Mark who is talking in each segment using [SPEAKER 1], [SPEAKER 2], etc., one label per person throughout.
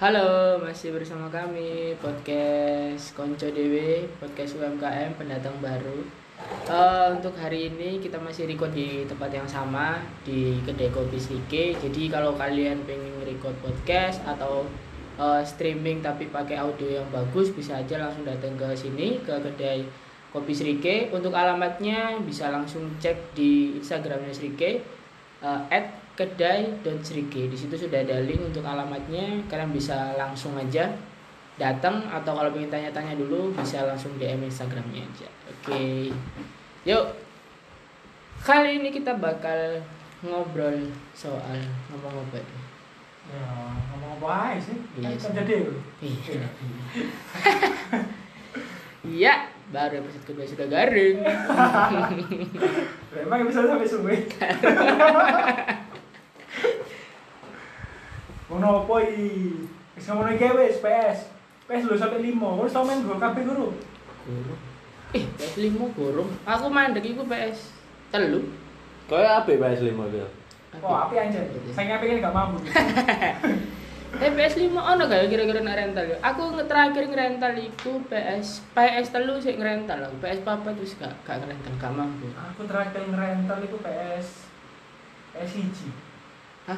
[SPEAKER 1] Halo, masih bersama kami podcast Konco DW, podcast UMKM pendatang baru. Eh, untuk hari ini kita masih record di tempat yang sama di kedai kopi Slike. Jadi kalau kalian pengen record podcast atau eh, streaming tapi pakai audio yang bagus bisa aja langsung datang ke sini ke kedai kopi Srike. Untuk alamatnya bisa langsung cek di Instagramnya Srike uh, at kedai.srike di situ sudah ada link untuk alamatnya kalian bisa langsung aja datang atau kalau pengen tanya-tanya dulu bisa langsung DM Instagramnya aja oke yuk kali ini kita bakal ngobrol soal ngomong obat
[SPEAKER 2] Ya, ngomong apa aja sih?
[SPEAKER 1] Iya
[SPEAKER 2] Kan
[SPEAKER 1] sih.
[SPEAKER 2] kerja deh.
[SPEAKER 1] Iya. iya baru episode kedua sudah garing
[SPEAKER 2] Memang bisa sampai suwe. Ngono apa iki? Wis ngono iki wis PS. PS lho sampai 5. Wis tau main gol kabeh guru.
[SPEAKER 1] Guru. eh PS lima gurung aku mandek iku PS telu
[SPEAKER 3] Kaya apa PS5 itu?
[SPEAKER 2] Wah, api anjir. Saya pengen gak mampu.
[SPEAKER 1] Eh PS5 ono gak ya kira-kira nak rental ya? Aku nge- terakhir ngerental iku PS PS telu sik ngerental aku. PS papa terus gak gak ngerental gak mampu.
[SPEAKER 2] Aku terakhir ngerental itu PS PS hiji.
[SPEAKER 1] Hah?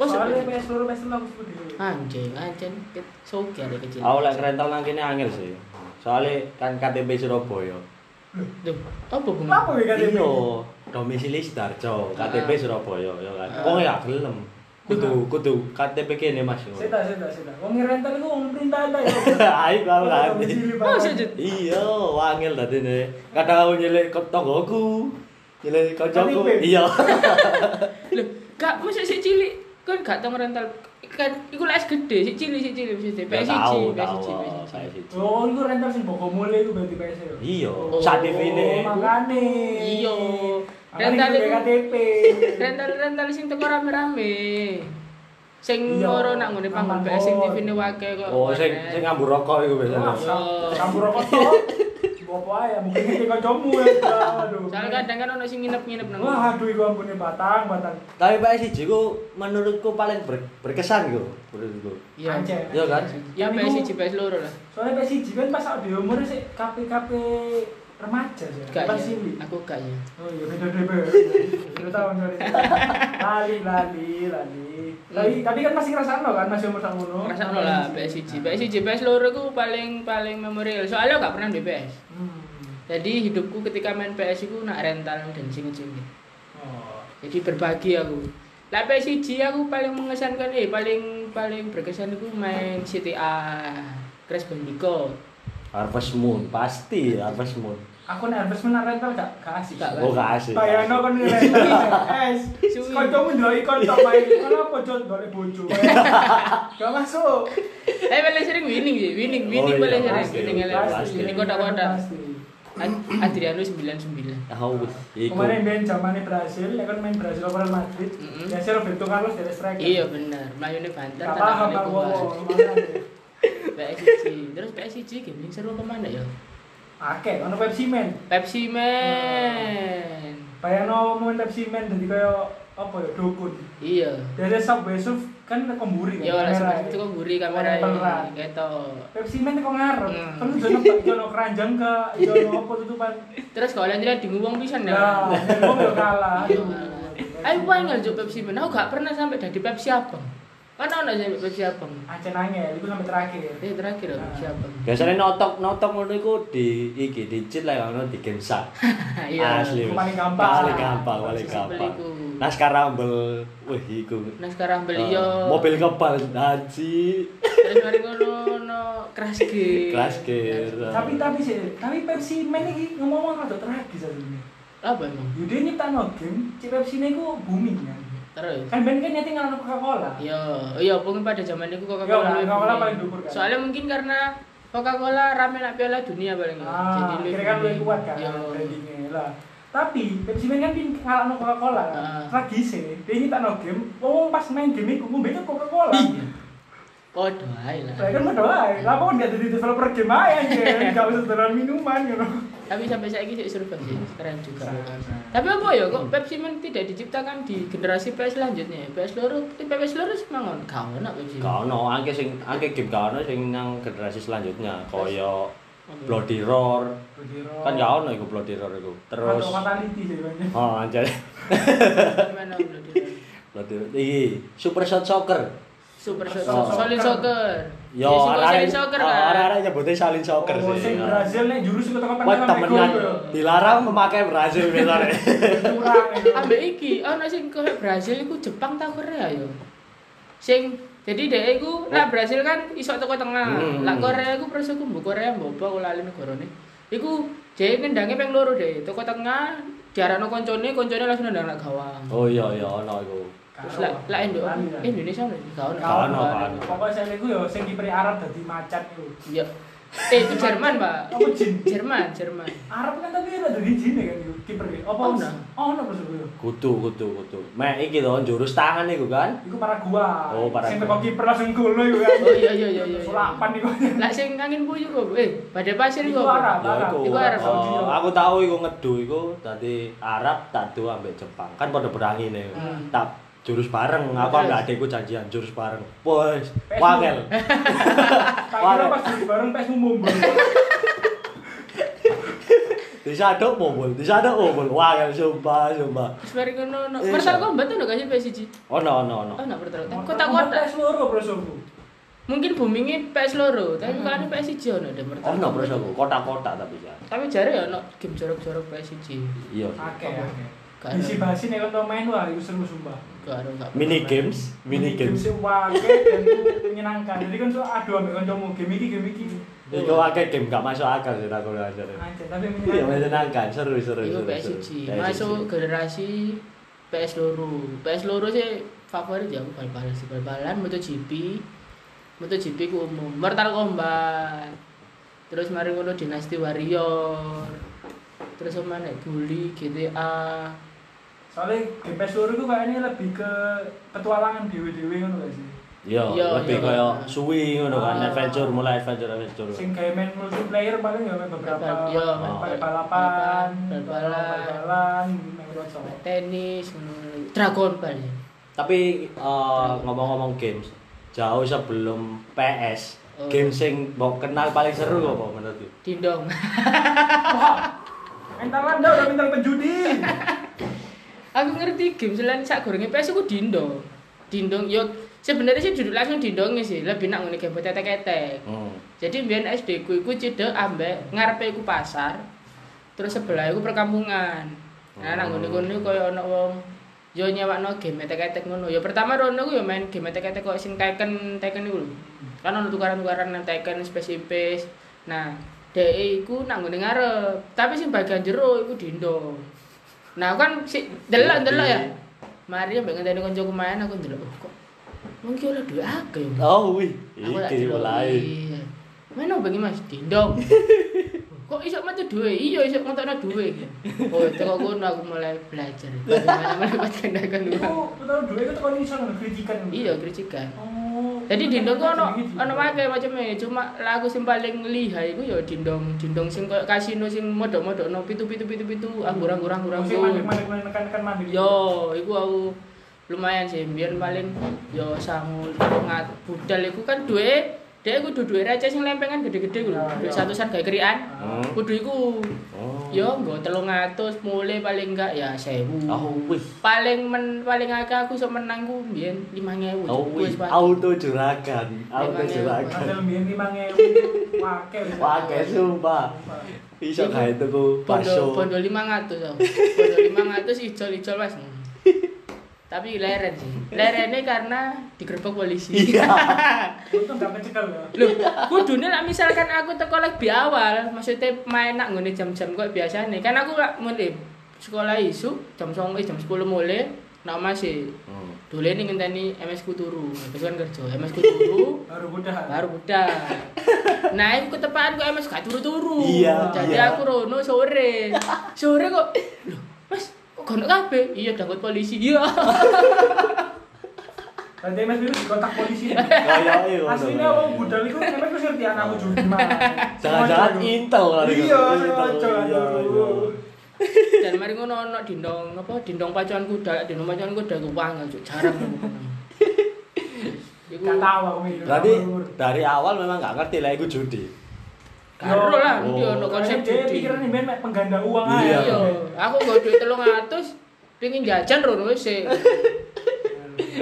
[SPEAKER 1] Bos
[SPEAKER 2] Soalnya PS loro PS loro aku dhewe.
[SPEAKER 1] Ah. anjing anjing ke- soge ada kecil.
[SPEAKER 3] Aku lek rental nang kene angel sih. Soale kan KTP Surabaya.
[SPEAKER 1] Duh, apa bunga?
[SPEAKER 2] Kenapa ya KTP?
[SPEAKER 3] Iya, domisili Sidarjo, KTP
[SPEAKER 1] Ah.
[SPEAKER 3] Surabaya ya kan.
[SPEAKER 1] Ah.
[SPEAKER 3] Wong ya gelem. Kudu kudu KTP kene Mas.
[SPEAKER 2] Sita, sita, sita. Wong ngerental itu wong perintah ada ya.
[SPEAKER 3] Ayo
[SPEAKER 2] Wong
[SPEAKER 3] kau ngerti.
[SPEAKER 2] domisili
[SPEAKER 1] Oh,
[SPEAKER 2] banget.
[SPEAKER 1] sujud.
[SPEAKER 3] Iya, wangil tadi nih. Kadang aku nyelek ke tonggoku, nyelek kancaku.
[SPEAKER 2] KTP?
[SPEAKER 3] Iya.
[SPEAKER 1] Loh, gak mesti sik cilik. Kan gak tau ngerental. Kan iku lek gede sik cilik sik cilik mesti
[SPEAKER 3] Ya,
[SPEAKER 1] PS1,
[SPEAKER 3] tahu,
[SPEAKER 1] PS1,
[SPEAKER 3] tahu,
[SPEAKER 1] PS1.
[SPEAKER 3] PS1.
[SPEAKER 2] Oh, itu rental sing boko mule itu berarti PS ya.
[SPEAKER 3] Iya,
[SPEAKER 2] Oh,
[SPEAKER 3] sadif ini.
[SPEAKER 2] Makane.
[SPEAKER 1] Iya.
[SPEAKER 2] Rental
[SPEAKER 1] Rental
[SPEAKER 2] itu
[SPEAKER 1] iku-
[SPEAKER 2] KTP.
[SPEAKER 1] rental-rental sing teko rame-rame. Sing
[SPEAKER 2] Iya.
[SPEAKER 1] loro nak ngene panggon
[SPEAKER 2] Aman,
[SPEAKER 1] PS sing
[SPEAKER 2] Bon.
[SPEAKER 1] TV-ne wae kok.
[SPEAKER 3] Oh, sing
[SPEAKER 1] warnet.
[SPEAKER 3] sing ngambur rokok iku biasanya.
[SPEAKER 2] Masa,
[SPEAKER 1] Oh.
[SPEAKER 2] Campur rokok toh. Bopo ae Ya, mungkin iki kancamu ya. Aduh.
[SPEAKER 1] Soalnya kadang kan ono sing nginep-nginep nang.
[SPEAKER 2] Wah, aduh iku ampune batang, batang.
[SPEAKER 3] Tapi PS1 ku menurutku paling ber- berkesan ku menurutku.
[SPEAKER 1] Iya.
[SPEAKER 2] Anjay.
[SPEAKER 3] Iya kan?
[SPEAKER 1] Ya
[SPEAKER 2] Tapi
[SPEAKER 1] PS1
[SPEAKER 2] ku-
[SPEAKER 1] PS loro lah.
[SPEAKER 2] Soalnya PS1 kan pas aku di umur sih KPKP remaja sih.
[SPEAKER 1] Gak
[SPEAKER 2] Pas
[SPEAKER 1] ya.
[SPEAKER 2] cilik.
[SPEAKER 1] Aku gak ya.
[SPEAKER 2] Oh iya beda beda. Dua tahun sorry. Lali lali lali. Tapi tapi kan masih ngerasaan lo kan masih umur sang uno.
[SPEAKER 1] Rasakno Hmm. lah
[SPEAKER 2] Nah.
[SPEAKER 1] PS1. PS1 PS loro ku paling paling memorial. Soalnya gak pernah di PS.
[SPEAKER 2] Hmm.
[SPEAKER 1] Jadi hidupku ketika main PS ku nak rental dan sing sini.
[SPEAKER 2] Oh.
[SPEAKER 1] Jadi berbagi aku. Lah PS1 aku paling mengesankan eh paling paling berkesan aku main CTA Crash Bandicoot.
[SPEAKER 3] Harvest Moon pasti Harvest Moon.
[SPEAKER 2] Aku nervous menar rental gak gak asik.
[SPEAKER 1] Gak
[SPEAKER 3] Oh gak asik.
[SPEAKER 2] Bayangno kon rental. Es.
[SPEAKER 1] Cuy.
[SPEAKER 2] Kancamu ndelok ikon tok main. Kenapa jon golek bojo. Gak masuk.
[SPEAKER 1] Eh paling sering winning sih, winning winning
[SPEAKER 3] Oh, iya,
[SPEAKER 1] paling sering
[SPEAKER 3] pasti,
[SPEAKER 1] winning
[SPEAKER 3] pasti,
[SPEAKER 1] paling
[SPEAKER 3] pasti.
[SPEAKER 1] winning kotak-kotak.
[SPEAKER 2] Pasti.
[SPEAKER 1] Ad- Adriano 99.
[SPEAKER 3] Aku iku.
[SPEAKER 2] Kemarin main zamannya Brasil, ya kan main Brasil lawan Madrid.
[SPEAKER 1] Mm-mm.
[SPEAKER 2] Ya sih Roberto Carlos dari striker.
[SPEAKER 1] Iya benar, Melayu ini banter
[SPEAKER 2] Gak paham
[SPEAKER 1] tantangannya
[SPEAKER 2] Pak
[SPEAKER 1] kuat.
[SPEAKER 2] Wowo. makanya.
[SPEAKER 1] PSG. Terus PSG gaming seru kemana ya?
[SPEAKER 2] Akeh, ono Pepsi Man.
[SPEAKER 1] Pepsi Man.
[SPEAKER 2] Bayangno momen Pepsi Man dadi kaya apa ya dukun.
[SPEAKER 1] Iya.
[SPEAKER 2] Dari Subway Surf kan kemburi kan.
[SPEAKER 1] Ya lah
[SPEAKER 2] kamera
[SPEAKER 1] sebab itu
[SPEAKER 2] ya.
[SPEAKER 1] kok gurih kamera
[SPEAKER 2] Orang pelan.
[SPEAKER 1] ini. Gitu.
[SPEAKER 2] Pepsi Man kok ngarep.
[SPEAKER 1] Hmm.
[SPEAKER 2] Kan jono jono keranjang ke jono apa tutupan.
[SPEAKER 1] Terus kalau jadi dibuang bisa nih.
[SPEAKER 2] Ya, ngomong ya kalah.
[SPEAKER 1] Iya, kalah. Ayo paling nggak Pepsi Man. Aku gak pernah sampai dari Pepsi Abang. Mana ada sampai Pepsi Abang?
[SPEAKER 2] Aceh nangis, itu sampai terakhir.
[SPEAKER 1] Ini terakhir loh, Pepsi Abang.
[SPEAKER 3] Biasanya notok notok ngono iku di iki di cheat lah ngono di game sak.
[SPEAKER 1] Iya.
[SPEAKER 3] Asli.
[SPEAKER 2] Itu
[SPEAKER 3] wes.
[SPEAKER 2] paling gampang.
[SPEAKER 3] Paling gampang, paling
[SPEAKER 1] Sisi
[SPEAKER 3] gampang.
[SPEAKER 1] beliku.
[SPEAKER 3] Naskah Rumble, wih iku.
[SPEAKER 1] Nah sekarang beliau.
[SPEAKER 3] Eh, mobil kebal haji
[SPEAKER 1] Terus mari ngono no crash gear.
[SPEAKER 3] Crash gear.
[SPEAKER 2] Tapi tapi sih, tapi Pepsi Man ini ngomong-ngomong rada tragis sebenarnya.
[SPEAKER 1] Apa emang?
[SPEAKER 2] Yudi nyiptakno game, si Pepsi ini ku booming kan.
[SPEAKER 1] Terus.
[SPEAKER 2] Kan ben kan nyati ngalahno Coca-Cola.
[SPEAKER 1] Iya, iya mungkin pada zaman itu
[SPEAKER 2] Iya,
[SPEAKER 1] Coca-Cola.
[SPEAKER 2] kan,
[SPEAKER 1] lebih
[SPEAKER 2] Coca-Cola
[SPEAKER 1] booming.
[SPEAKER 2] paling dhuwur kan.
[SPEAKER 1] Soalnya mungkin karena Coca-Cola rame nak piala dunia paling nggak.
[SPEAKER 2] Ah,
[SPEAKER 1] lebih
[SPEAKER 2] kira kan
[SPEAKER 1] booming.
[SPEAKER 2] lebih kuat kan
[SPEAKER 1] Iya.
[SPEAKER 2] brandingnya lah. Tapi Pepsi Man kan pin ngalahno Coca-Cola kan.
[SPEAKER 1] Ah.
[SPEAKER 2] Lagi sih, dia nyiptakno game, wong wong pas main game iku ngombe Coca-Cola.
[SPEAKER 1] Iya. Podo ae lah.
[SPEAKER 2] Saya kan padha wae. Lah kok nggak jadi developer game aja anjir. Enggak usah dolan minuman ngono.
[SPEAKER 1] tapi sampai saat ini suruh sih keren juga
[SPEAKER 2] Sangat.
[SPEAKER 1] tapi apa ya kok Pepsi Man tidak diciptakan di generasi PS selanjutnya PS loro PS loro semangon gak ono Pepsi Man
[SPEAKER 3] Gak ono, angke sing angke game gak ono sing nang generasi selanjutnya kaya Bloody Roar. Kan gak ono iku Bloody Roar iku. Terus
[SPEAKER 2] fatality sih banyak.
[SPEAKER 3] Oh, anjay.
[SPEAKER 1] gimana Bloody Roar?
[SPEAKER 3] Bloody Roar. Iki Super Shot Soccer.
[SPEAKER 1] Super
[SPEAKER 3] Oh.
[SPEAKER 1] Soccer Solid Soccer Ya,
[SPEAKER 3] Yo,
[SPEAKER 1] semua
[SPEAKER 3] arek-arek
[SPEAKER 1] Solid Soccer
[SPEAKER 3] oh,
[SPEAKER 1] kan
[SPEAKER 3] arek-arek nyebutnya salin soccer
[SPEAKER 2] Oh,
[SPEAKER 3] sih.
[SPEAKER 2] sing
[SPEAKER 3] Oh.
[SPEAKER 2] Brazil nih jurus itu tekan
[SPEAKER 3] Wah, temenan
[SPEAKER 2] itu.
[SPEAKER 3] dilarang memakai Brazil biasanya.
[SPEAKER 2] Curang itu.
[SPEAKER 1] ambek iki ono sing koyo Brazil iku Jepang ta Korea yo sing jadi dhek iku lah Brazil kan iso teko tengah
[SPEAKER 3] Hmm.
[SPEAKER 1] lah Korea iku terus iku mbok Korea mbok apa aku lali negarane iku dhek ngendange ping loro dhek teko tengah diarano koncone koncone langsung nendang nak gawang
[SPEAKER 3] Oh iya iya ono iku.
[SPEAKER 1] terus lah lah Indo eh, Indonesia ono gak ono
[SPEAKER 3] Gak ono,
[SPEAKER 1] Gak
[SPEAKER 3] gak ono.
[SPEAKER 2] Pokoknya saya itu ya, sing diperi Arab dari macan itu.
[SPEAKER 1] iya eh itu Jerman Pak
[SPEAKER 2] Apa jin?
[SPEAKER 1] Jerman Jerman
[SPEAKER 2] Arab kan tapi ada dari jin ya kan itu kiper ya.
[SPEAKER 1] Oh,
[SPEAKER 2] Apa?
[SPEAKER 1] nah.
[SPEAKER 2] Oh, no itu.
[SPEAKER 3] Kudu kudu kudu. Mek iki to jurus tangan iku kan.
[SPEAKER 2] Iku para gua.
[SPEAKER 3] Oh, Paraguay.
[SPEAKER 2] Sing teko kiper langsung gol lho iku kan.
[SPEAKER 1] Oh, iya, iya, iya, iya.
[SPEAKER 2] Sulapan iku.
[SPEAKER 1] lah sing angin puyuh kok eh badai pasir
[SPEAKER 2] Iku
[SPEAKER 1] kok
[SPEAKER 2] Arab,
[SPEAKER 3] Ya
[SPEAKER 2] Arab.
[SPEAKER 3] iku.
[SPEAKER 1] Iku Arab.
[SPEAKER 3] Oh, aku tahu iku ngedu iku dadi Arab tadu ambek Jepang. Kan padha berangine.
[SPEAKER 1] Hmm.
[SPEAKER 3] Tak jurus bareng aku
[SPEAKER 1] Terus?
[SPEAKER 3] ambek adekku janjian jurus bareng. Wes,
[SPEAKER 2] Pesmu.
[SPEAKER 3] wangel.
[SPEAKER 2] Tak
[SPEAKER 3] Wah,
[SPEAKER 2] kira
[SPEAKER 3] Rek.
[SPEAKER 2] pas duduk bareng pes umum.
[SPEAKER 3] Disaduk mobil, disaduk mobil. Wangel sumpah sumpah.
[SPEAKER 1] terus mari ngono
[SPEAKER 3] Iya.
[SPEAKER 1] Mortal Kombat ono gak sih PSG
[SPEAKER 3] Ono ono ono.
[SPEAKER 1] oh nak Mortal Kombat kota kota
[SPEAKER 2] pes loro bro sobu.
[SPEAKER 1] mungkin boomingnya PS loro tapi kalau PS1 ono ada Mortal
[SPEAKER 3] Hmm. Ono
[SPEAKER 1] Kombat.
[SPEAKER 3] terus aku kotak-kotak tapi ya.
[SPEAKER 1] tapi jare ya ono game jorok-jorok PS1
[SPEAKER 3] Iya.
[SPEAKER 2] Akeh.
[SPEAKER 1] Apa?
[SPEAKER 2] akeh.
[SPEAKER 1] Gak
[SPEAKER 2] Isi
[SPEAKER 1] ada.
[SPEAKER 2] basi nek kon main wah iku seru sumpah.
[SPEAKER 1] gak ada gak
[SPEAKER 3] Mini
[SPEAKER 1] pernah.
[SPEAKER 3] games, mini games.
[SPEAKER 2] sing wake dan menyenangkan. Jadi kan so aduh ambek kancamu game iki game iki.
[SPEAKER 3] Iku akeh game gak masuk akal sih aku aja.
[SPEAKER 2] Anjir, tapi
[SPEAKER 3] Iya
[SPEAKER 2] menyenangkan.
[SPEAKER 3] menyenangkan, seru seru
[SPEAKER 1] Iku
[SPEAKER 3] seru.
[SPEAKER 1] PS1
[SPEAKER 3] seru.
[SPEAKER 1] Iya, masuk generasi PS loro PS loro sih favorit ya aku bal-balan sih bal-balan MotoGP MotoGP ku umum Mortal Kombat terus mari ngono Dynasty Warrior terus sama nek Gully GTA
[SPEAKER 2] Soalnya game pes loro iku kayaknya lebih ke petualangan dewe-dewe ngono gak sih?
[SPEAKER 3] Iya,
[SPEAKER 1] Iya,
[SPEAKER 3] lebih
[SPEAKER 1] iya.
[SPEAKER 3] kayak suwi ngono kan,
[SPEAKER 2] Ah.
[SPEAKER 3] adventure mulai adventure adventure.
[SPEAKER 2] sing kayak main multiplayer paling ya main beberapa
[SPEAKER 1] Bal- iya,
[SPEAKER 3] main
[SPEAKER 1] bal-
[SPEAKER 2] paling balapan
[SPEAKER 1] bal- balapan.
[SPEAKER 2] balapan main roadshow
[SPEAKER 1] tenis ngono Dragon Ball ya.
[SPEAKER 3] Tapi eh, ngomong-ngomong games, jauh sebelum PS,
[SPEAKER 1] Oh. Ah.
[SPEAKER 3] game sing mau kenal paling seru apa menurutmu?
[SPEAKER 1] Dindong
[SPEAKER 2] wah entar anda udah bintang penjudi
[SPEAKER 1] aku ngerti game selain sak gorenge PS aku dindong dindong yo sebenarnya sih duduk langsung dindongnya sih lebih nak ngene game tetek-tetek
[SPEAKER 3] Hmm.
[SPEAKER 1] Jadi mbiyen SD ku iku cedek ambek ngarepe iku pasar. Terus sebelah iku perkampungan. Nah, nang ngene-ngene koyo ana wong yo nyewakno game etek-etek ngono. Ya pertama rono ku yo main game etek-etek kok sing Tekken, Tekken iku lho. Kan ono tukaran-tukaran nang Tekken Space Invaders. Nah, dhek iku nang ngene ngarep, tapi sing bagian jero iku dindong. Nah, aku kan si delok-delok ya. Mari ambek ngenteni kancaku main aku ndelok "Oh, kok. Wong ki ora duwe akeh. ya?"
[SPEAKER 3] Oh wih,
[SPEAKER 1] Aku tak
[SPEAKER 3] iki
[SPEAKER 1] delok,
[SPEAKER 3] mulai.
[SPEAKER 1] iya. Mana bengi Mas Dindong. Kok iso metu duwe? Iya iso ngentokno duwe. Oh, teko kono aku mulai belajar bagaimana mendapatkan dagang uang.
[SPEAKER 2] aku tau dulu itu kan bisa ngono kritikan
[SPEAKER 1] Iya, kritikan.
[SPEAKER 2] oh
[SPEAKER 1] Jadi Dindong ku ono
[SPEAKER 2] Jenenge
[SPEAKER 1] ono wae maceme, cuma lagu sing paling lihai iku ya Dindong, Dindong sing koyo kasino sing modok-modokno
[SPEAKER 2] gitu.
[SPEAKER 1] pitu-pitu-pitu-pitu, Ah, anggur-anggur-anggur.
[SPEAKER 2] Mesti mandek-mandek mandek nekan-nekan mandek
[SPEAKER 1] Yo, iku aku lumayan sih, biar paling yo sangul ngat budal iku kan duwe dhek iku duwe receh sing lempengan gede-gede ku lho.
[SPEAKER 2] Ya,
[SPEAKER 1] Duit
[SPEAKER 2] ya.
[SPEAKER 1] satusan gawe kerian.
[SPEAKER 2] Ah.
[SPEAKER 3] Hmm.
[SPEAKER 1] Kudu iku
[SPEAKER 3] Oh.
[SPEAKER 1] yo nggo 300 mulai paling enggak ya 1000.
[SPEAKER 3] Oh wih.
[SPEAKER 1] Paling men, paling akeh aku iso menang ku mbiyen 5000.
[SPEAKER 3] Oh wih,
[SPEAKER 1] Wis pati.
[SPEAKER 3] auto juragan, auto
[SPEAKER 1] Emang ya,
[SPEAKER 3] juragan.
[SPEAKER 2] hasil biyen ya. 5000 wake bisa.
[SPEAKER 3] Wake sumpah.
[SPEAKER 2] Sumpah.
[SPEAKER 3] Bisa kae tuku
[SPEAKER 1] Bondo
[SPEAKER 3] bakso.
[SPEAKER 1] bondo 500 aku. Bondo 500 ijol-ijol wes. Tapi leren sih. Lerennya karena digerebek polisi.
[SPEAKER 2] Untung gak kecekel ya.
[SPEAKER 1] Loh, kudune lah misalkan aku teko lebih awal, maksudnya main nak ngene jam-jam kok biasane. Kan aku lak mulai sekolah isu jam 09.00 eh, jam 10 mulai, nak masih
[SPEAKER 3] Hmm.
[SPEAKER 1] dolen ngenteni MS ku turu. Habis kan kerja, MS ku turu
[SPEAKER 2] Baru udah.
[SPEAKER 1] baru udah. Nah, aku ketepaan kok MS gak turu-turu.
[SPEAKER 3] Iya,
[SPEAKER 1] Jadi
[SPEAKER 3] iya.
[SPEAKER 1] aku rono sore. Sore kok loh, Mas, kok gak kabeh? Iya, dangkut polisi. Iya.
[SPEAKER 2] Berarti Mas Biru di kotak polisi.
[SPEAKER 3] Kaya iku.
[SPEAKER 2] Aslinya wong budal iku Mas wis ngerti anakku Juma.
[SPEAKER 3] Ah. Jangan-jangan intel kali iku.
[SPEAKER 2] Iya,
[SPEAKER 3] Intel,
[SPEAKER 2] sengaja
[SPEAKER 3] iya, iya.
[SPEAKER 1] Dan mari ngono ono dindong apa dindong pacuan kuda, dindong pacuan kuda ku wangal cuk, jarang aku kenal. Iku
[SPEAKER 2] Gak tahu aku mikir.
[SPEAKER 3] Berarti
[SPEAKER 2] Ngawur.
[SPEAKER 3] dari awal memang nggak ngerti lah iku judi.
[SPEAKER 1] karo lah
[SPEAKER 3] Oh.
[SPEAKER 1] dia ono konsep
[SPEAKER 2] Dia
[SPEAKER 1] judi.
[SPEAKER 2] pikiran ini main pengganda uang
[SPEAKER 3] Iya.
[SPEAKER 2] aja.
[SPEAKER 1] Iya, aku nggo duit 300 pengin jajan rono wis. sih.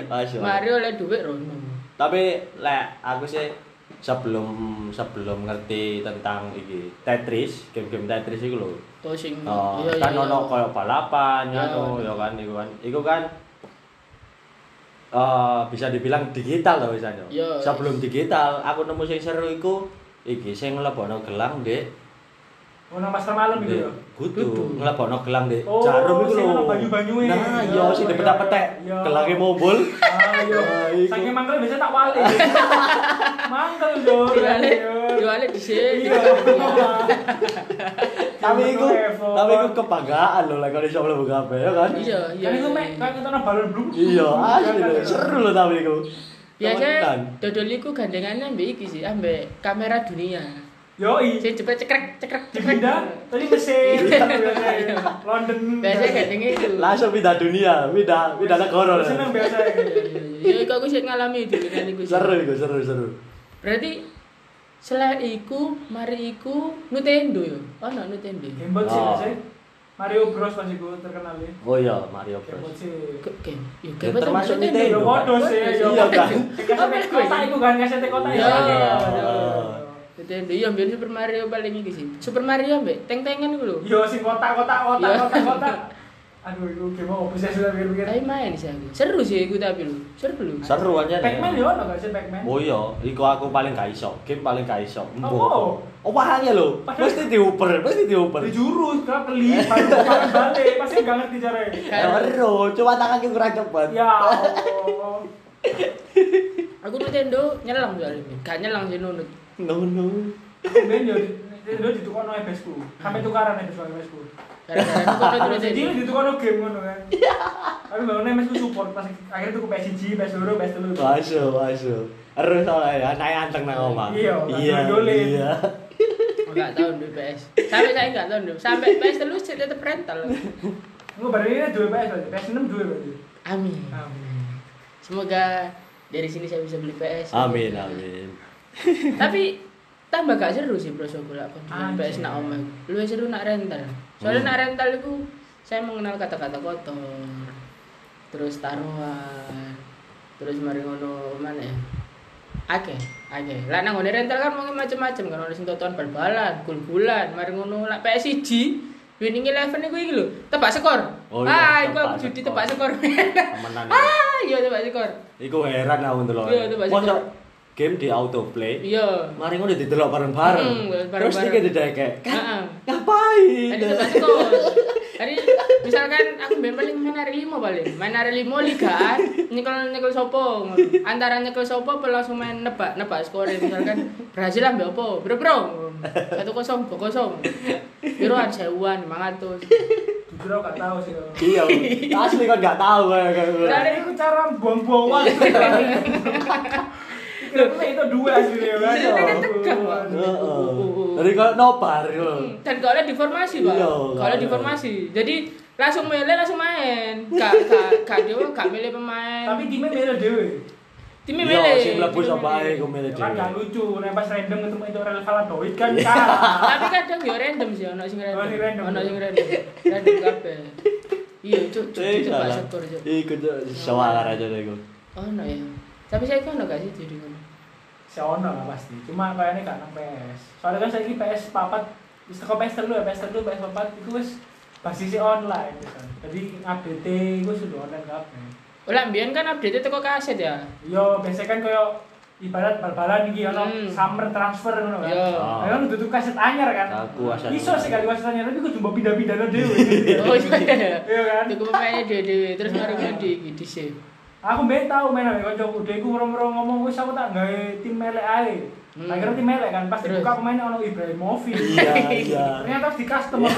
[SPEAKER 3] Masya Allah.
[SPEAKER 1] Mari oleh duit rono.
[SPEAKER 3] Tapi lek aku sih sebelum sebelum ngerti tentang iki Tetris, game-game Tetris iku lho.
[SPEAKER 1] To sing.
[SPEAKER 3] Oh,
[SPEAKER 1] Hmm. iya,
[SPEAKER 3] kan
[SPEAKER 1] iya,
[SPEAKER 3] ono
[SPEAKER 1] iya.
[SPEAKER 3] koyo balapan
[SPEAKER 1] Iya,
[SPEAKER 3] ya tuh,
[SPEAKER 1] iya.
[SPEAKER 3] ya kan iku kan. Iku kan eh, bisa dibilang digital loh misalnya.
[SPEAKER 1] Iya, iya.
[SPEAKER 3] Sebelum digital, aku nemu sing seru iku iki sing nglebono gelang, Dik.
[SPEAKER 2] Ono master malam gitu
[SPEAKER 3] Iya.
[SPEAKER 2] ya.
[SPEAKER 1] Kudu.
[SPEAKER 3] Kudu nglebono gelang, Dik.
[SPEAKER 2] Oh,
[SPEAKER 3] Jarum iku
[SPEAKER 2] sing
[SPEAKER 3] lho.
[SPEAKER 2] ono banyu-banyuke.
[SPEAKER 3] Nah,
[SPEAKER 2] Iya,
[SPEAKER 3] iya sing e
[SPEAKER 2] iya,
[SPEAKER 3] dipetak-petek.
[SPEAKER 2] iya.
[SPEAKER 3] Gelange mumbul.
[SPEAKER 2] Ayo.
[SPEAKER 3] Ah, iku.
[SPEAKER 2] iya. Saking mangkel biasa tak wale. Mangkel yo.
[SPEAKER 1] Diwale,
[SPEAKER 2] yo.
[SPEAKER 1] diwale di sini.
[SPEAKER 2] Iya.
[SPEAKER 3] tapi
[SPEAKER 2] Jaman
[SPEAKER 3] iku
[SPEAKER 2] telepon.
[SPEAKER 3] tapi iku kebanggaan loh lek iso mlebu kabeh ya kan
[SPEAKER 1] Iya, iya.
[SPEAKER 2] Kan itu mek kan kita nang balon blubub.
[SPEAKER 3] iya
[SPEAKER 2] Kan,
[SPEAKER 3] asli lho
[SPEAKER 2] kan,
[SPEAKER 3] seru loh tapi iku Temen-temen.
[SPEAKER 1] Biasanya dodol iku gandengannya ambek iki sih, ambek kamera dunia.
[SPEAKER 2] Yoi.
[SPEAKER 1] Sing cepet cekrek cekrek
[SPEAKER 2] Di
[SPEAKER 1] cekrek.
[SPEAKER 2] Binda, tadi mesin.
[SPEAKER 1] Iya.
[SPEAKER 2] biasanya. London.
[SPEAKER 1] Biasanya gandeng itu.
[SPEAKER 3] langsung pindah dunia pindah pindah negara lho.
[SPEAKER 2] Seneng biasa. gitu.
[SPEAKER 1] Ya iku aku sih ngalami dulu kan iku. sih.
[SPEAKER 3] seru iku seru seru
[SPEAKER 1] Berarti selain iku, mari iku Nintendo yo. Ono Nintendo.
[SPEAKER 2] Gamebot sih
[SPEAKER 3] Oh.
[SPEAKER 2] biasanya. Mario Bros pas iku terkenal ya.
[SPEAKER 3] oh iya Mario
[SPEAKER 2] Gamebot
[SPEAKER 3] Bros
[SPEAKER 2] sih.
[SPEAKER 1] Ke- Game. Yo
[SPEAKER 3] Ya, termasuk
[SPEAKER 2] Yo
[SPEAKER 3] Nintendo.
[SPEAKER 2] podo sih, ya. yo
[SPEAKER 3] Iya,
[SPEAKER 2] podo
[SPEAKER 3] kan?
[SPEAKER 2] sih. Kayak
[SPEAKER 1] Apa
[SPEAKER 2] kota
[SPEAKER 1] gue?
[SPEAKER 2] iku kan kaset kota ya.
[SPEAKER 1] Iya.
[SPEAKER 2] Iya.
[SPEAKER 1] Nintendo yo ambil Super Mario paling iki sih. Super Mario ambek teng-tengan iku lho.
[SPEAKER 2] Yo sing kotak-kotak kotak
[SPEAKER 1] Iya.
[SPEAKER 2] kotak-kotak. Aduh, iku game apa sih sudah pikir-pikir.
[SPEAKER 1] Tapi main ya. sih aku. Seru sih iku tapi lho. Seru lho.
[SPEAKER 3] seru aja
[SPEAKER 2] Pac-Man
[SPEAKER 3] nih
[SPEAKER 2] yo ono gak sih Pac-Man?
[SPEAKER 3] oh iya iku aku paling gak iso game paling gak iso
[SPEAKER 2] Apa?
[SPEAKER 3] oh wahanya lho
[SPEAKER 2] Padahal-
[SPEAKER 3] mesti diuper mesti diuper
[SPEAKER 2] Dijurus, kena pelit, baru baru balik, pasti gak ngerti caranya.
[SPEAKER 3] Ya, seru cuma tanganku kurang cepet
[SPEAKER 1] Iya.
[SPEAKER 2] Ya Allah.
[SPEAKER 1] Aku Nintendo nyelang soalnya. Gak nyelang sih nunut.
[SPEAKER 3] no no
[SPEAKER 2] Ben yo Nintendo ya, ditukokno ebesku. Sampai tukaran ebesku karo ebesku.
[SPEAKER 1] Gara-gara aku kono tuh
[SPEAKER 2] Jadi
[SPEAKER 1] Nintendo.
[SPEAKER 2] ditukokno game ngono kan. Tapi bangunnya ebesku support pas akhirnya tuku PS1, PS2, PS3.
[SPEAKER 3] Masuk, masuk. Terus soalnya ya, naik anteng nang omah.
[SPEAKER 2] Iya,
[SPEAKER 3] iya,
[SPEAKER 2] gondolin.
[SPEAKER 3] iya.
[SPEAKER 1] Enggak tahu di PS. Sampai saya enggak tahu. dulu. Sampai PS terus tetep rental.
[SPEAKER 2] Engko bareng ini dua PS berarti. PS6 dua berarti.
[SPEAKER 1] Amin.
[SPEAKER 2] Amin.
[SPEAKER 1] Semoga dari sini saya bisa beli PS.
[SPEAKER 3] Amin, amin.
[SPEAKER 1] Tapi tambah gak seru sih bro so golak kondangan
[SPEAKER 2] Anjir.
[SPEAKER 1] PS nak omah. Lu seru nak rental. Soalnya
[SPEAKER 3] Hmm.
[SPEAKER 1] nak rental itu saya mengenal kata-kata kotor. Terus taruhan. Terus mari ngono mana ya? Oke, oke. Lah nang ngone rental kan mungkin macam-macam kan ono sing totoan bal-balan, gul-gulan, mari ngono lak PSG winning eleven iku iki lho, tebak skor.
[SPEAKER 3] Oh
[SPEAKER 1] ah,
[SPEAKER 3] iya,
[SPEAKER 1] iku
[SPEAKER 3] tebak
[SPEAKER 1] aku judi
[SPEAKER 3] skor.
[SPEAKER 1] tebak skor.
[SPEAKER 3] Temenan.
[SPEAKER 1] ah, iya tebak skor.
[SPEAKER 3] Iku heran aku ndelok.
[SPEAKER 1] Iya, itu pasti.
[SPEAKER 3] Mosok game di autoplay.
[SPEAKER 1] Iya.
[SPEAKER 3] Mari ngono didelok bareng-bareng.
[SPEAKER 1] Hmm, bareng-bareng.
[SPEAKER 3] Terus iki didekek.
[SPEAKER 1] Heeh.
[SPEAKER 3] Ngapain?
[SPEAKER 1] Tadi tebak skor. Tadi misalkan aku main paling main hari lima paling. Main hari lima ligaan, nyekel nyekel sopo. Antara nyekel sopo apa langsung main nebak nebak skor misalkan Brazil ambil apa? Bro bro. Satu kosong, dua kosong. Biruan sewuan, lima ratus.
[SPEAKER 2] Jujur aku gak tahu sih. kalau-
[SPEAKER 3] Iya, asli kan gak tahu kayak kayak-
[SPEAKER 2] Soalnya itu cara buang-buang waktu.
[SPEAKER 1] Iya.
[SPEAKER 2] Kira-kira itu dua sih ya kan.
[SPEAKER 1] Iya, kan tegang, Pak.
[SPEAKER 3] Heeh. Dari kalau nobar gitu yo.
[SPEAKER 1] Dan kalau di formasi pak,
[SPEAKER 3] Iya,
[SPEAKER 1] kalau di
[SPEAKER 3] kalau-
[SPEAKER 1] formasi. Jadi langsung milih langsung main. Kak kak kak dia kak milih pemain.
[SPEAKER 2] Tapi timnya beda dewe.
[SPEAKER 1] timnya
[SPEAKER 3] Yo,
[SPEAKER 1] milih.
[SPEAKER 3] Iya, sing mlebu
[SPEAKER 1] timnya
[SPEAKER 3] sapa ae
[SPEAKER 1] milih.
[SPEAKER 3] ku milih
[SPEAKER 2] Ya kan
[SPEAKER 3] dhewe.
[SPEAKER 2] gak lucu, nek pas random ketemu itu Aurel Valadoid kan kalah.
[SPEAKER 1] tapi kadang yo random sih ono sing
[SPEAKER 2] Oh, sing random.
[SPEAKER 1] random ono sing random random kabeh iya cuk cuk
[SPEAKER 3] Eh,
[SPEAKER 1] cuk pak
[SPEAKER 3] salah.
[SPEAKER 1] sektor cuk
[SPEAKER 3] Iku tuh soal aja iku.
[SPEAKER 1] ono ya tapi saya kan ono gak sih jadi ngono
[SPEAKER 2] Si ono lah pasti. Cuma kayaknya gak nang PS. Soalnya kan saiki PS papat wis teko PS telu ya, PS telu, PS papat itu wis basisnya online kan. Jadi update iku sudah online kabeh.
[SPEAKER 1] Lah mbiyen kan update teko kaset ya.
[SPEAKER 2] Yo biasanya kan koyo ibarat bal-balan iki ono
[SPEAKER 1] Hmm.
[SPEAKER 2] summer transfer ngono kan.
[SPEAKER 1] Yo.
[SPEAKER 3] Oh.
[SPEAKER 2] Ayo lu tutup kaset anyar kan.
[SPEAKER 3] Aku asan.
[SPEAKER 2] Iso sih kali kaset anyar tapi kudu mbok pindah-pindah no dhewe.
[SPEAKER 1] Oh iya.
[SPEAKER 2] Iya kan?
[SPEAKER 1] Tuku pemainnya dhewe-dhewe terus mari ngono di iki di save.
[SPEAKER 2] Aku mbek tau main ambek kancaku, dhek iku merem-merem ngomong wis aku tak gawe tim melek ae.
[SPEAKER 1] Hmm.
[SPEAKER 2] Akhirnya tim melek kan pas
[SPEAKER 1] Terus?
[SPEAKER 2] dibuka pemainnya ono Ibrahimovic.
[SPEAKER 3] Iya, iya.
[SPEAKER 2] Ternyata harus di custom.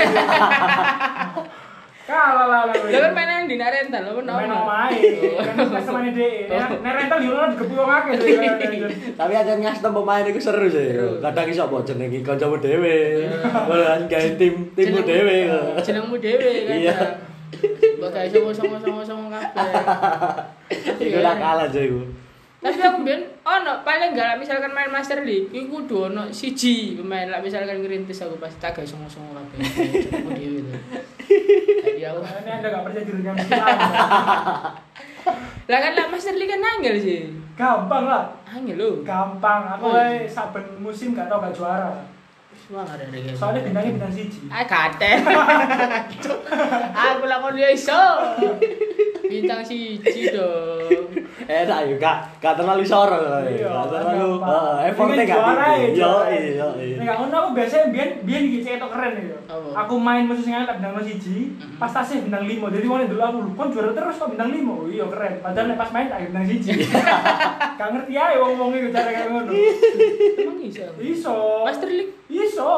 [SPEAKER 2] Kalah lah lah.
[SPEAKER 1] Lha kan mainan di nak rental lho
[SPEAKER 2] Main
[SPEAKER 1] ono.
[SPEAKER 2] omahe. Kan customer dhek.
[SPEAKER 1] Oh.
[SPEAKER 2] Nek rental yo ora digebu wong akeh. lho, ya, ya.
[SPEAKER 3] Tapi aja ngastem pemain iku seru sih. Kadang iso mbok jenengi kancamu dhewe. Walaupun gawe tim
[SPEAKER 1] Jeneng-
[SPEAKER 3] timmu dhewe.
[SPEAKER 1] Jenengmu dhewe kan.
[SPEAKER 3] Iya.
[SPEAKER 1] Iya. Mbok gawe songo-songo-songo kabeh.
[SPEAKER 3] Iku lah kalah aja iku.
[SPEAKER 1] Tapi aku biyen ono paling gak lah, misalkan main Master League iku kudu ono siji pemain lah misalkan ngerintis aku pasti tak gawe songo-songo kabeh. Jenengmu dhewe itu. Jadi aku
[SPEAKER 2] Ini anda gak percaya diri kamu sendiri.
[SPEAKER 1] Lah kan lah Master League kan angel sih.
[SPEAKER 2] Gampang lah.
[SPEAKER 1] Angel lho.
[SPEAKER 2] Gampang. Aku
[SPEAKER 1] Oh,
[SPEAKER 2] eh saben musim gak tau gak juara.
[SPEAKER 1] Wah, ada gitu. reggae.
[SPEAKER 2] Soalnya bintangnya bintang siji.
[SPEAKER 1] Ah kate. Aku lah kon dia iso. Bintang siji dong.
[SPEAKER 3] Enak Eh, yo gak gak terlalu soro.
[SPEAKER 2] Iya,
[SPEAKER 3] Gak terlalu
[SPEAKER 2] gampang.
[SPEAKER 3] heeh, effortnya
[SPEAKER 2] Ini
[SPEAKER 3] gak
[SPEAKER 2] juara ya,
[SPEAKER 3] tinggi. Yo
[SPEAKER 2] juara ya.
[SPEAKER 3] iya iya.
[SPEAKER 2] Nek gak ngono aku biasanya biyen biyen iki cetok keren ya.
[SPEAKER 1] Apa?
[SPEAKER 2] Aku main musuh sing tak bintang 1, pas tasih bintang 5. Jadi wong dulu aku lho, kon juara terus kok bintang 5. Oh iya keren. Padahal nek pas main tak bintang
[SPEAKER 1] Iya.
[SPEAKER 2] 1. Gak ngerti ae wong-wong iku cara kayak ngono.
[SPEAKER 1] Emang iso.
[SPEAKER 2] Iso.
[SPEAKER 1] Master League.
[SPEAKER 2] Iso.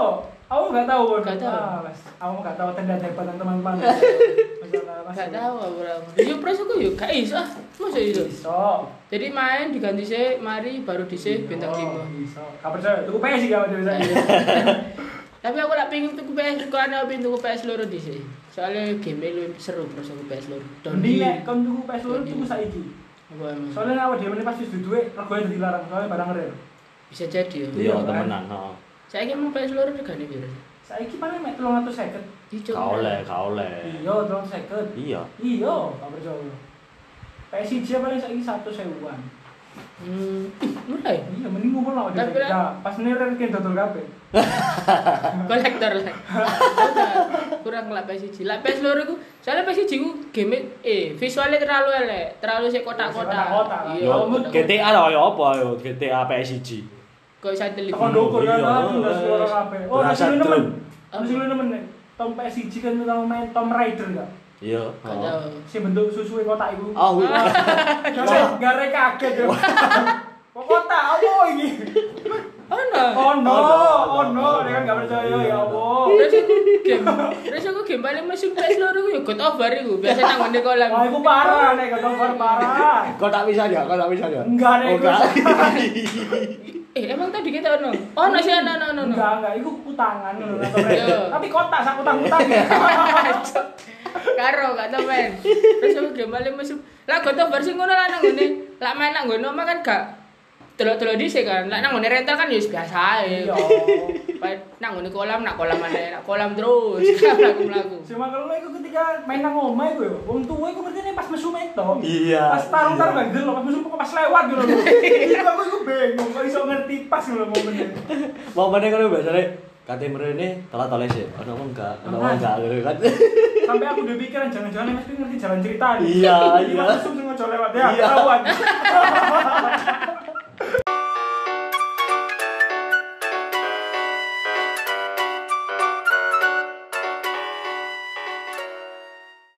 [SPEAKER 2] Aku gak tahu. Bon.
[SPEAKER 1] Gak tahu.
[SPEAKER 2] Ah, mas. Aku gak tahu tanda tebatan teman-teman. Masalah mas.
[SPEAKER 1] Gak tahu aku ora. Yo pres aku yo gak iso. ah. Masa iso.
[SPEAKER 2] Iso.
[SPEAKER 1] Jadi main diganti sih, mari baru dhisik bintang
[SPEAKER 2] Iya,
[SPEAKER 1] 5.
[SPEAKER 2] Iso. Gak percaya. Tuku PS gak bisa.
[SPEAKER 1] Tapi aku lak pengin tuku PS kok ana pengin tuku PS loro dhisik. Soalnya game lu seru terus aku PS loro.
[SPEAKER 2] Doni
[SPEAKER 1] Doni.
[SPEAKER 2] nek kon tuku PS loro
[SPEAKER 1] Doni.
[SPEAKER 2] tuku saiki.
[SPEAKER 1] Apa emang?
[SPEAKER 2] soalnya awal dia ini pasti sudah duit regonya jadi larang soalnya barang rare
[SPEAKER 1] Bisa jadi ya.
[SPEAKER 3] Iya temenan. heeh.
[SPEAKER 1] Saya ingin mau PS loro regane piro?
[SPEAKER 2] saya ini paling mek telung atau seket
[SPEAKER 1] Dicok.
[SPEAKER 3] Gak oleh, gak oleh.
[SPEAKER 2] iya telung seket
[SPEAKER 3] Iya.
[SPEAKER 2] iya gak percaya PSIJ paling saya ini satu sewuan
[SPEAKER 1] Hmm, ih, murah ya?
[SPEAKER 2] iya mending ngumpul lah
[SPEAKER 1] Tapi
[SPEAKER 2] jadi nah, pas ini rare kayak dodol kabe
[SPEAKER 1] kolektor lah kurang lah PS1 lah PS loro iku soalnya PS1 ku game eh visualnya terlalu elek terlalu sik kotak-kotak
[SPEAKER 2] Kotak-kotak.
[SPEAKER 1] iya
[SPEAKER 3] Yo
[SPEAKER 2] bener.
[SPEAKER 3] GTA lah ya apa yo GTA PS1.
[SPEAKER 1] kok satelit
[SPEAKER 2] tekan dokor kan
[SPEAKER 3] Iya,
[SPEAKER 2] lah udah
[SPEAKER 3] eh,
[SPEAKER 2] sekolah kabe oh
[SPEAKER 3] berasa
[SPEAKER 2] masih lu nemen
[SPEAKER 3] tuh.
[SPEAKER 2] masih lu nemen nek Tom PSIJ kan kita main Tom Raider gak
[SPEAKER 3] Iya.
[SPEAKER 1] Gak
[SPEAKER 3] heeh.
[SPEAKER 1] tau.
[SPEAKER 2] si bentuk susunya kotak itu
[SPEAKER 3] Oh, wih.
[SPEAKER 2] Gak gara kaget ya kok kotak apa ini
[SPEAKER 1] oh no
[SPEAKER 2] Oh no,
[SPEAKER 3] Oh, no,
[SPEAKER 2] oh
[SPEAKER 3] no,
[SPEAKER 2] no,
[SPEAKER 3] no,
[SPEAKER 2] dia kan gak
[SPEAKER 3] no,
[SPEAKER 2] percaya
[SPEAKER 3] iya,
[SPEAKER 2] ya
[SPEAKER 3] no.
[SPEAKER 2] Allah.
[SPEAKER 1] terus aku game terus aku game paling mesin PS loro ku ya God of War iku biasa nang ngene kolam
[SPEAKER 2] Wah, itu parah nih, gak nobar parah.
[SPEAKER 3] Kau tak bisa ya, kau tak bisa ya.
[SPEAKER 2] Enggak, Nek,
[SPEAKER 3] Oh,
[SPEAKER 2] gua-
[SPEAKER 1] eh emang tadi kita ono Oh, ono sih ono ono ono
[SPEAKER 2] Enggak, enggak, itu kutangan loh, kata
[SPEAKER 1] Iya.
[SPEAKER 2] mereka. Tapi kotak, sak kutang-kutang ya.
[SPEAKER 1] karo gak tau men terus aku game paling mesum lah God of War sing ngono lah nang ngene lah main nang ngono mah kan gak delok-delok dhisik kan lah nang ngene rental kan ya wis biasa ae
[SPEAKER 2] Iya.
[SPEAKER 1] Pa- nang ngene kolam nak kolam mana nak kolam terus mlaku-mlaku
[SPEAKER 2] Cuma kalau itu ketika main nang omah itu ya, wong tua itu ngerti nih pas mesum itu.
[SPEAKER 3] Iya,
[SPEAKER 2] Pas tarung tarung
[SPEAKER 3] iya.
[SPEAKER 2] gak gelo, pas mesum kok pas lewat gitu loh. Itu aku itu bingung, kok iso ngerti pas gitu loh momennya.
[SPEAKER 3] Mau mana kau biasanya kata mereka telat oleh sih. Ono wong enggak, ono wong enggak gitu kan.
[SPEAKER 2] Sampai aku udah pikiran jangan-jangan Mas Pi ngerti jalan cerita nih.
[SPEAKER 3] Iya,
[SPEAKER 2] Jadi
[SPEAKER 3] iya.
[SPEAKER 2] pas mesum sengaja lewat ya,
[SPEAKER 3] Iya.
[SPEAKER 2] ketahuan.